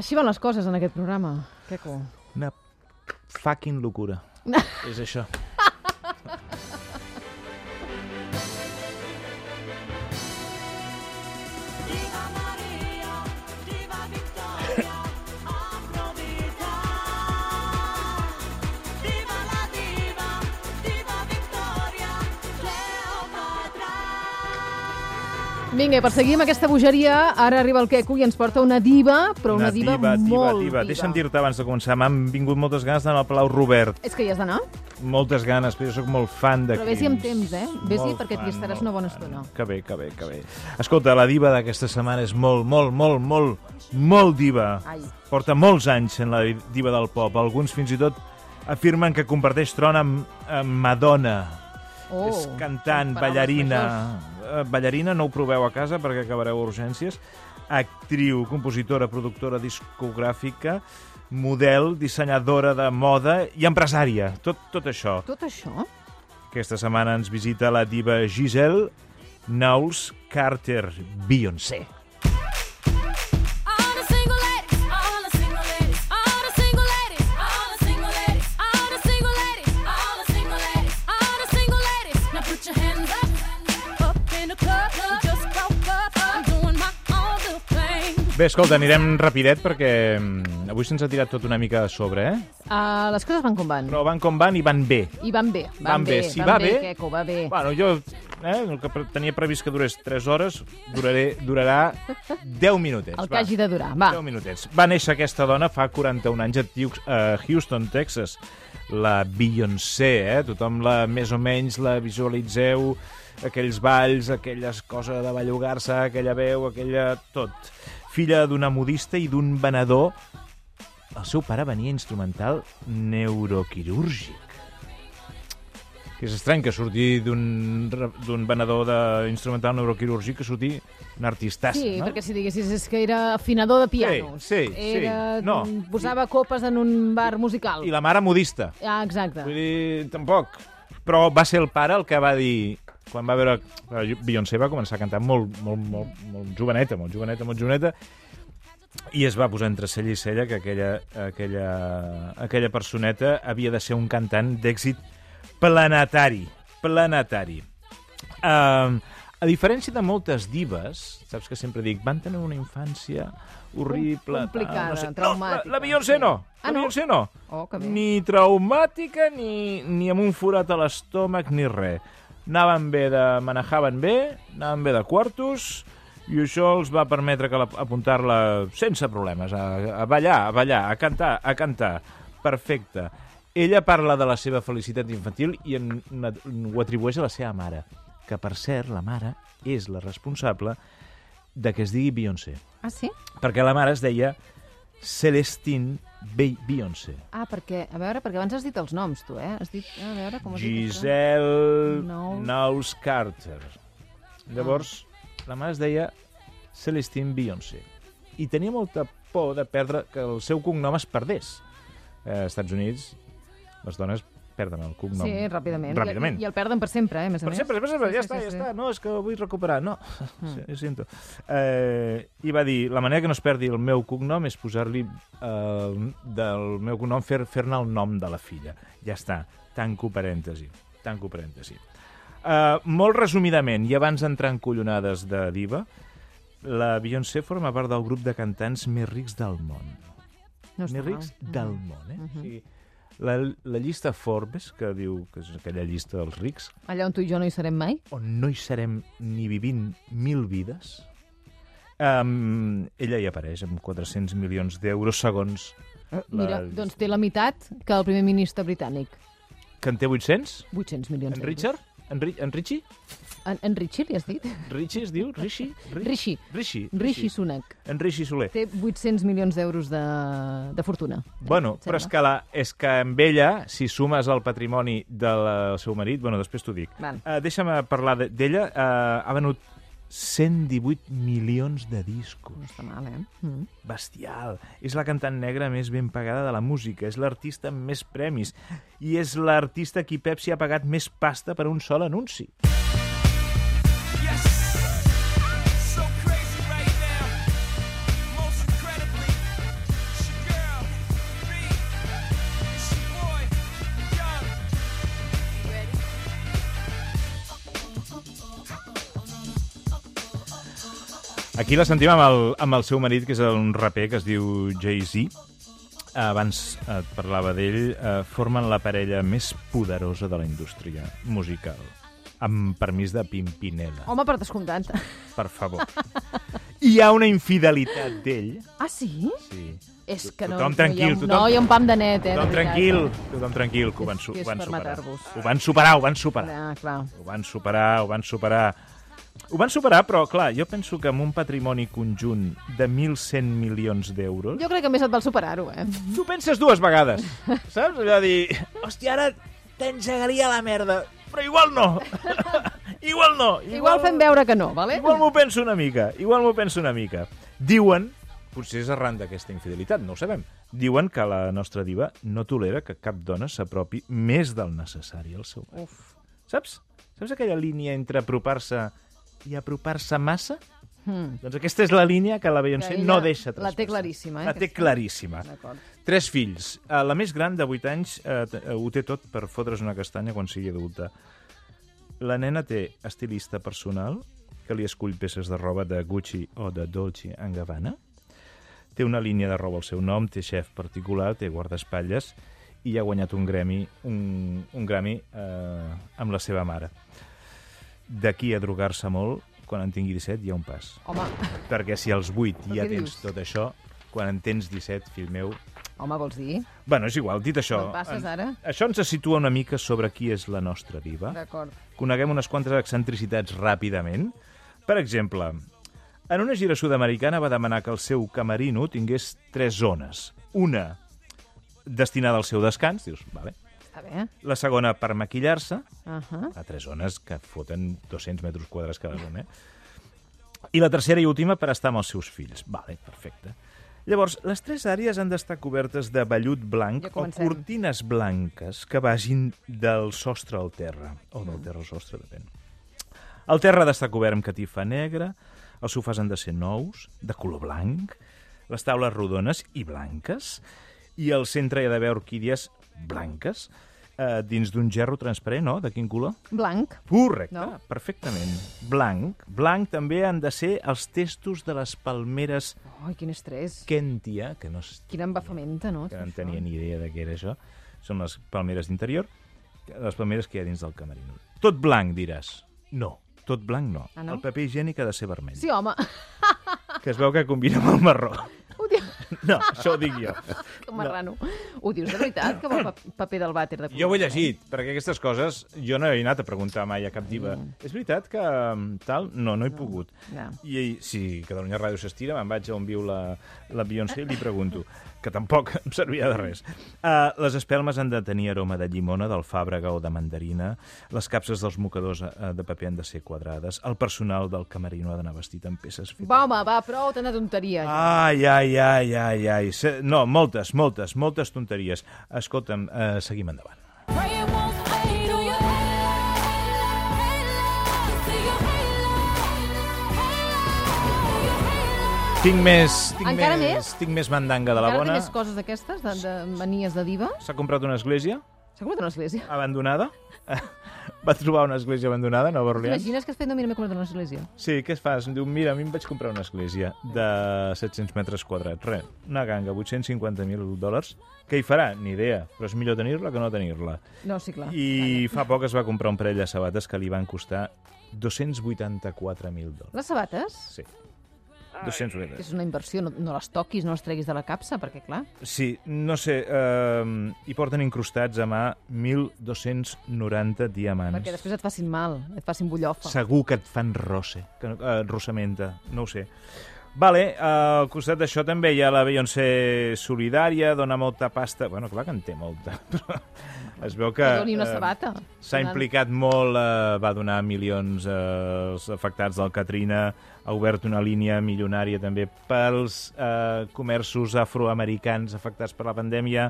Així van les coses en aquest programa. Queco. Una fucking locura. és això. Diva Maria, Diva Victoria, Afrodita. Viva la diva, Diva Victoria, Cleopatra. Vinga, i per seguir amb aquesta bogeria, ara arriba el Queco i ens porta una diva, però una, diva, molt Deixa'm dir-te abans de començar, m'han vingut moltes ganes d'anar al Palau Robert. És que hi has d'anar? Moltes ganes, però jo sóc molt fan de Però vés-hi amb crims. temps, eh? Vés-hi Molt perquè t'hi fan, estaràs molt una bona fan. estona. Que bé, que bé, que bé. Escolta, la diva d'aquesta setmana és molt, molt, molt, molt, molt diva. Ai. Porta molts anys sent la diva del pop. Alguns fins i tot afirmen que comparteix tron amb, amb Madonna. Oh, és cantant, són paraules ballarina... majors. Eh, Ballarina, no ho proveu a casa perquè acabareu a urgències. Actriu, compositora, productora discogràfica, model, dissenyadora de moda i empresària. Tot, tot això. Tot això? Aquesta setmana ens visita la diva Giselle Knowles Carter, Beyoncé. All the single ladies, all the single ladies, all the single ladies, all the single ladies, all the single ladies, all the single ladies, all the single ladies. Now put your hands up, up in the club, just broke up. I'm doing my own little thing. Bé, escolta, anirem rapidet perquè mm, avui se'ns ha tirat tot una mica a sobre, eh? Uh, les coses van com van. Però van com van i van bé. I van bé, van, Van bé. Si van va bé, bé- Queco, va bé. Bueno, jo eh, el que pre- tenia previst que durés 3 hores duraré, durarà 10 minutets. El que va. hagi de durar, va. 10 minutets. Va néixer aquesta dona fa 41 anys a Tiu- a Houston, Texas. La Beyoncé, eh? Tothom la, més o menys la visualitzeu, aquells balls, aquelles coses de bellugar-se, aquella veu, aquella... tot. Filla d'una modista i d'un venedor. El seu pare venia instrumental neuroquirúrgic. Que és estrany que sortir d'un re- d'un venedor d'instrumental neuroquirúrgic que sortir un artistassa, Sí, no? perquè si diguessis és que era afinador de pianos. Sí, sí, sí. era, No. Posava copes en un bar musical. I la mare modista. Ah, exacte. Vull dir, tampoc. Però va ser el pare el que va dir... Quan va veure... Beyoncé va començar a cantar molt, molt, molt, molt joveneta, molt joveneta, molt joveneta, i es va posar entre cella i cella que aquella, aquella, aquella personeta havia de ser un cantant d'èxit planetari. Planetari. Um, a diferència de moltes dives, saps que sempre dic, van tenir una infància horrible... tal, Complicada, no sé. traumàtica, No, la, la Beyoncé sí. no. Ah, la no? Beyoncé no Oh, que bé. ni traumàtica ni, ni amb un forat a l'estómac ni res. Anaven bé de... manejaven bé, anaven bé de quartos, i això els va permetre que la- apuntar-la sense problemes, a, a ballar, a ballar, a cantar, a cantar. Perfecte. Ella parla de la seva felicitat infantil i en, en, ho atribueix a la seva mare, que, per cert, la mare és la responsable de que es digui Beyoncé. Ah, sí? Perquè la mare es deia Celestine Be- Beyoncé. Ah, perquè, a veure, perquè abans has dit els noms, tu, eh? Has dit, a veure, com has dit Giselle Knowles. Knowles Carter. Llavors, Ah. la mare es deia Celestine Beyoncé. I tenia molta por de perdre que el seu cognom es perdés. Eh, als Estats Units, les dones perden el això? cognom. Sí, ràpidament. Ràpidament. I, I el perden per sempre, eh, a més a Per més. sempre, per sempre, ja està, ja està. No, és que ho vull recuperar. No, sí, ho sento. Eh, I va dir, la manera que no es perdi el meu cognom és posar-li eh, del meu cognom, fer- fer-ne el nom de la filla. Ja està, tanco parèntesi, tanco parèntesi. Eh, molt resumidament, i abans d'entrar en collonades de diva, la Beyoncé forma part del grup de cantants més rics del món Doncs No està més rics mal. del món. Eh? o sigui, la, la llista Forbes, que diu que és aquella llista dels rics, Allà on tu i jo no hi serem mai? on no hi serem ni vivint mil vides, um, ella hi apareix amb 400 milions d'euros segons la... Mira, doncs té la meitat que el primer ministre britànic. Que en té 800? 800 milions En d'euros. Richard? En, Ri en Richie? En, en Richie, li has dit? Richie es diu? Rishi? Ri- Rishi. Rishi. Rishi Sunak. En Rishi Soler. Té 800 milions d'euros de, de fortuna. Bueno, però és que, la, és que amb ella, si sumes el patrimoni del seu marit, bueno, després t'ho dic. Val. Uh, deixa'm eh, parlar de- d'ella. Uh, ha venut 118 milions de discos. No està mal, eh? Mm. Bestial. És la cantant negra més ben pagada de la música. És l'artista amb més premis. I és l'artista qui Pepsi ha pagat més pasta per un sol anunci. Yes, so crazy right now, most incredibly, Aquí la sentim amb el, amb el seu marit, que és un raper que es diu Jay-Z. Abans et parlava d'ell. eh, Formen la parella més poderosa de la indústria musical. Amb permís de Pimpinela, Home, per descomptat. per favor. Hi ha una infidelitat d'ell. Ah, sí? Sí. És que no, Tothom no hi ha tranquil, un tothom- no hi ha un pam de net, eh? de Tothom veritat. tranquil, tothom tranquil, que ho van, su Que és ho van per superar. matar-vos. Ho van superar, ho van superar. Ah, clar. Ho van superar, ho van superar. Ho van superar, però, clar, jo penso que amb un patrimoni conjunt de 1.100 milions d'euros... Jo crec que més et val superar-ho, eh? Tu penses dues vegades, saps? Allò de dir, hòstia, ara t'engegaria la merda, però igual no. igual no. Igual fem veure que no, vale? Igual m'ho penso una mica, igual m'ho penso una mica. Diuen, potser és arran d'aquesta infidelitat, no ho sabem, diuen que la nostra diva no tolera que cap dona s'apropi més del necessari al seu marit. Uf. Saps? Saps aquella línia entre apropar-se i apropar-se massa? Mm. Doncs aquesta és la línia que la Beyoncé Que ella no deixa la té traspassar. claríssima, eh, La té aquesta. claríssima. D'acord. Tres fills. Eh, La més gran, de 8 anys, eh, t- eh, ho té tot per fotre's una castanya quan sigui adulta. La nena té estilista personal, que li escull peces de roba de Gucci o de Dolce en Gabbana. Té una línia de roba al seu nom, té xef particular, té guardaespatlles i ha guanyat un Grammy, un, un Grammy eh, amb la seva mare. D'aquí a drogar-se molt, quan en tingui 17 hi ha un pas. Home, Perquè si als 8 Però ja què tens dius? tot això, quan en tens 17, fill meu... home, vols dir? Bueno, és igual, dit això... Te'n passes, en- ara? Això ens situa una mica sobre qui és la nostra diva. D'acord. Coneguem unes quantes excentricitats ràpidament. Per exemple, en una gira sud-americana va demanar que el seu camerino tingués tres zones. Una destinada al seu descans, dius, vale. Està bé. La segona per maquillar-se, Uh -huh. a tres zones que foten 200 metres quadrats cada zona, eh? I la tercera i última per estar amb els seus fills. Vale, perfecte. Llavors, les tres àrees han d'estar cobertes de vellut blanc Ja o comencem. cortines blanques que vagin del sostre al terra, o Mm. del terra al sostre, depèn. El terra ha d'estar cobert amb catifa negra, els sofàs han de ser nous, de color blanc, les taules rodones i blanques, i al centre hi ha d'haver orquídies blanques, eh, dins d'un gerro transparent, no? De quin color? Blanc. Correcte, no? No? perfectament. Blanc. Blanc també han de ser els testos de les palmeres Ai, quin estrès. Que... Kentia, que no, es- Quina embafamenta, no? que no en tenia ni idea de què era això. Són les palmeres d'interior, les palmeres que hi ha dins del camerino. Tot blanc, diràs. No, tot blanc no. Ah, no? El paper higiènic ha de ser vermell, Sí, home. que es veu que combina amb el marró. Ho dius, No, això ho dic jo. que marrano. Ho dius de veritat, que vol pa- paper del vàter de color? Jo ho he llegit, perquè aquestes coses jo no he anat a preguntar mai a cap diva. És veritat que mm, tal? No, no he pogut. no. I i si Catalunya Ràdio s'estira, me'n vaig a on viu la, la Beyoncé i li pregunto, que tampoc em servia de res. Uh, les espelmes han de tenir aroma de llimona, d'alfàbrega o de mandarina, les capses dels mocadors eh, de paper han de ser quadrades, el personal del camerino ha d'anar vestit amb peces fetes Va, home, va, prou, tanta tonteria. Ah. Ai, ai, ai, ai, ai. Se- No, moltes, moltes, moltes tonteries. Escolta'm, eh, seguim endavant. Pray it won't fade on your halo, halo, see your halo, halo, your halo. Tinc més... Tinc Encara més, més? Tinc més mandanga de Encara la té bona. més coses d'aquestes, de, de manies de diva? S'ha comprat una església S'ha comprat una església? abandonada. Va trobar una església abandonada a Nova Orleans. T'imagines que has fet, no, mira, m'he comprat una església. Sí, què es fas? Em diu, mira, a mi em vaig comprar una església de 700 metres quadrats. Res, una ganga, 850.000 dòlars. Què hi farà? Ni idea, però és millor tenir-la que no tenir-la. No, sí, clar. I fa poc es va comprar un parell de sabates que li van costar 284.000 dòlars. Les sabates, Sí. 280. que és una inversió, no, no les toquis, no les treguis de la capsa, perquè, clar, Sí, no sé, eh, hi porten incrustats a mà 1.290 diamants. perquè després et facin mal, et facin bullofa. Segur que et fan rosse, que, no- eh, rossamenta, no ho sé. Vale, eh, al costat d'això també hi ha la Beyoncé solidària, dona molta pasta... Bueno, clar que en té molta, però es veu que... Que doni una eh, sabata. S'ha implicat molt, eh, va donar milions eh, als afectats del Katrina, ha obert una línia milionària també pels eh, comerços afroamericans afectats per la pandèmia.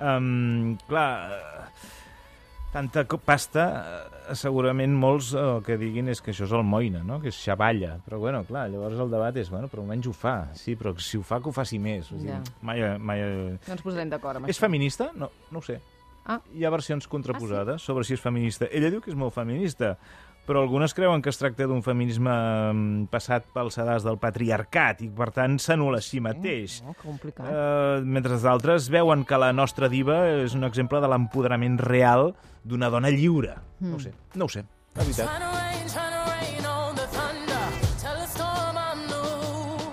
Um, clar, eh, tanta co- pasta, eh, segurament molts eh, el que diguin és que això és almoina, no? que és xavalla. Però bueno, clar, llavors el debat és, bueno, però almenys ho fa, sí, però si ho fa que ho faci més. O sigui, Ja. mai, mai, No ens posarem d'acord amb és feminista? No, no ho sé. Ah. Hi ha versions contraposades ah, sí? sobre si és feminista. Ella diu que és molt feminista, però algunes creuen que es tracta d'un feminisme mm, passat pel sedàs del patriarcat i, per tant, s'anul·la a si mateix. Oh, complicat. Eh, mentre d'altres veuen que la nostra diva és un exemple de l'empoderament real d'una dona lliure. No ho sé, no ho sé, la veritat. Tryna rain, tryna rain on the thunder. Tell the storm I'm new.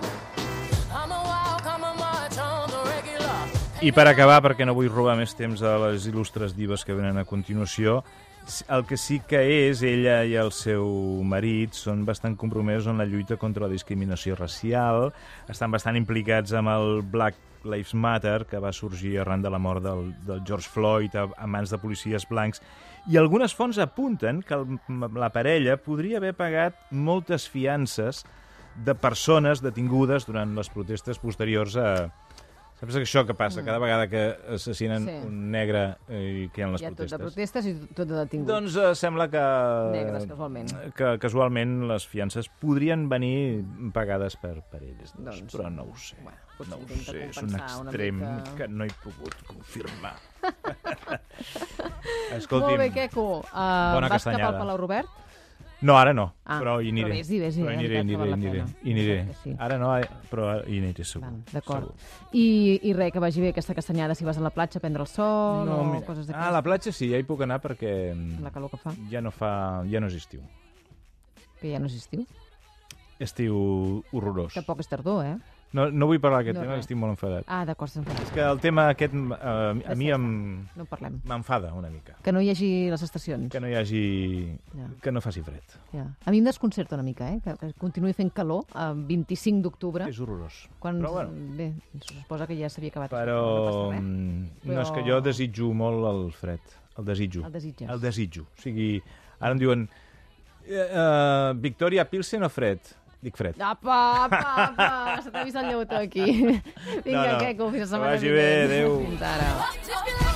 I'm a walk, I'm a march on the regular. I per acabar, perquè no vull robar més temps a les il·lustres dives que venen a continuació, s- el que sí que és, ella i el seu marit són bastant compromesos en la lluita contra la discriminació racial, estan bastant implicats amb el Black Lives Matter, que va sorgir arran de la mort del, del George Floyd a, a mans de policies blancs, i algunes fonts apunten que el, la parella podria haver pagat moltes fiances de persones detingudes durant les protestes posteriors a... Saps això que passa? Cada vegada que assassinen Mm. Sí. sí. un negre eh, i que hi ha les Hi ha tot de protestes. protestes i tot de detinguts. Doncs eh, sembla que... Negres, casualment. Que casualment les fiances podrien venir pagades per, per ells. Doncs, Doncs, però no ho sé. bueno, potser no ho intenta sé, és un compensar una extrem mica. que no he pogut confirmar. Molt Escolti'm, bé, Queco. Uh, Bona vas cap castanyada. al Palau Robert? no, ara no, Ah, però hi aniré. però vés-hi, vés-hi, Però hi eh, aniré, veritat hi que aniré, val hi la aniré. pena. Hi aniré. Exacte, sí. Ara no, eh, però hi aniré segur. Val, D'acord. segur. I, I res, que vagi bé aquesta castanyada si vas a la platja a prendre el sol o mira, coses Ah, a d'aquestes. la platja sí, ja hi puc anar perquè amb La calor que fa, ja no fa... ja no és estiu. que ja no és estiu. Estiu horrorós. Tampoc és tardor, eh? No, no vull parlar d'aquest No, no, tema, res. que estic molt enfadat. Ah, d'acord, se'n És fa. que el tema aquest eh, a mi em- No en parlem. m'enfada una mica. Que no hi hagi les estacions. Que no hi hagi... Ja. que no faci fred. Ja. A mi em desconcerta una mica, eh? Que, que continuï fent calor el 25 d'octubre, És horrorós. quan Però bueno, bé, se suposa que ja s'havia acabat. però... No passa res. mm, Però- No, és que jo desitjo molt el fred. El desitjo. El desitges. El desitjo. O sigui, ara em diuen... Eh, eh, Victoria Pilsen o fred? Dic fred. Apa, apa, apa, se t'ha vist el lleutó aquí. Vinga, No, no. Queco, fins la setmana Que vagi bé, vinent. adéu. Fins ara. Just be like Oh,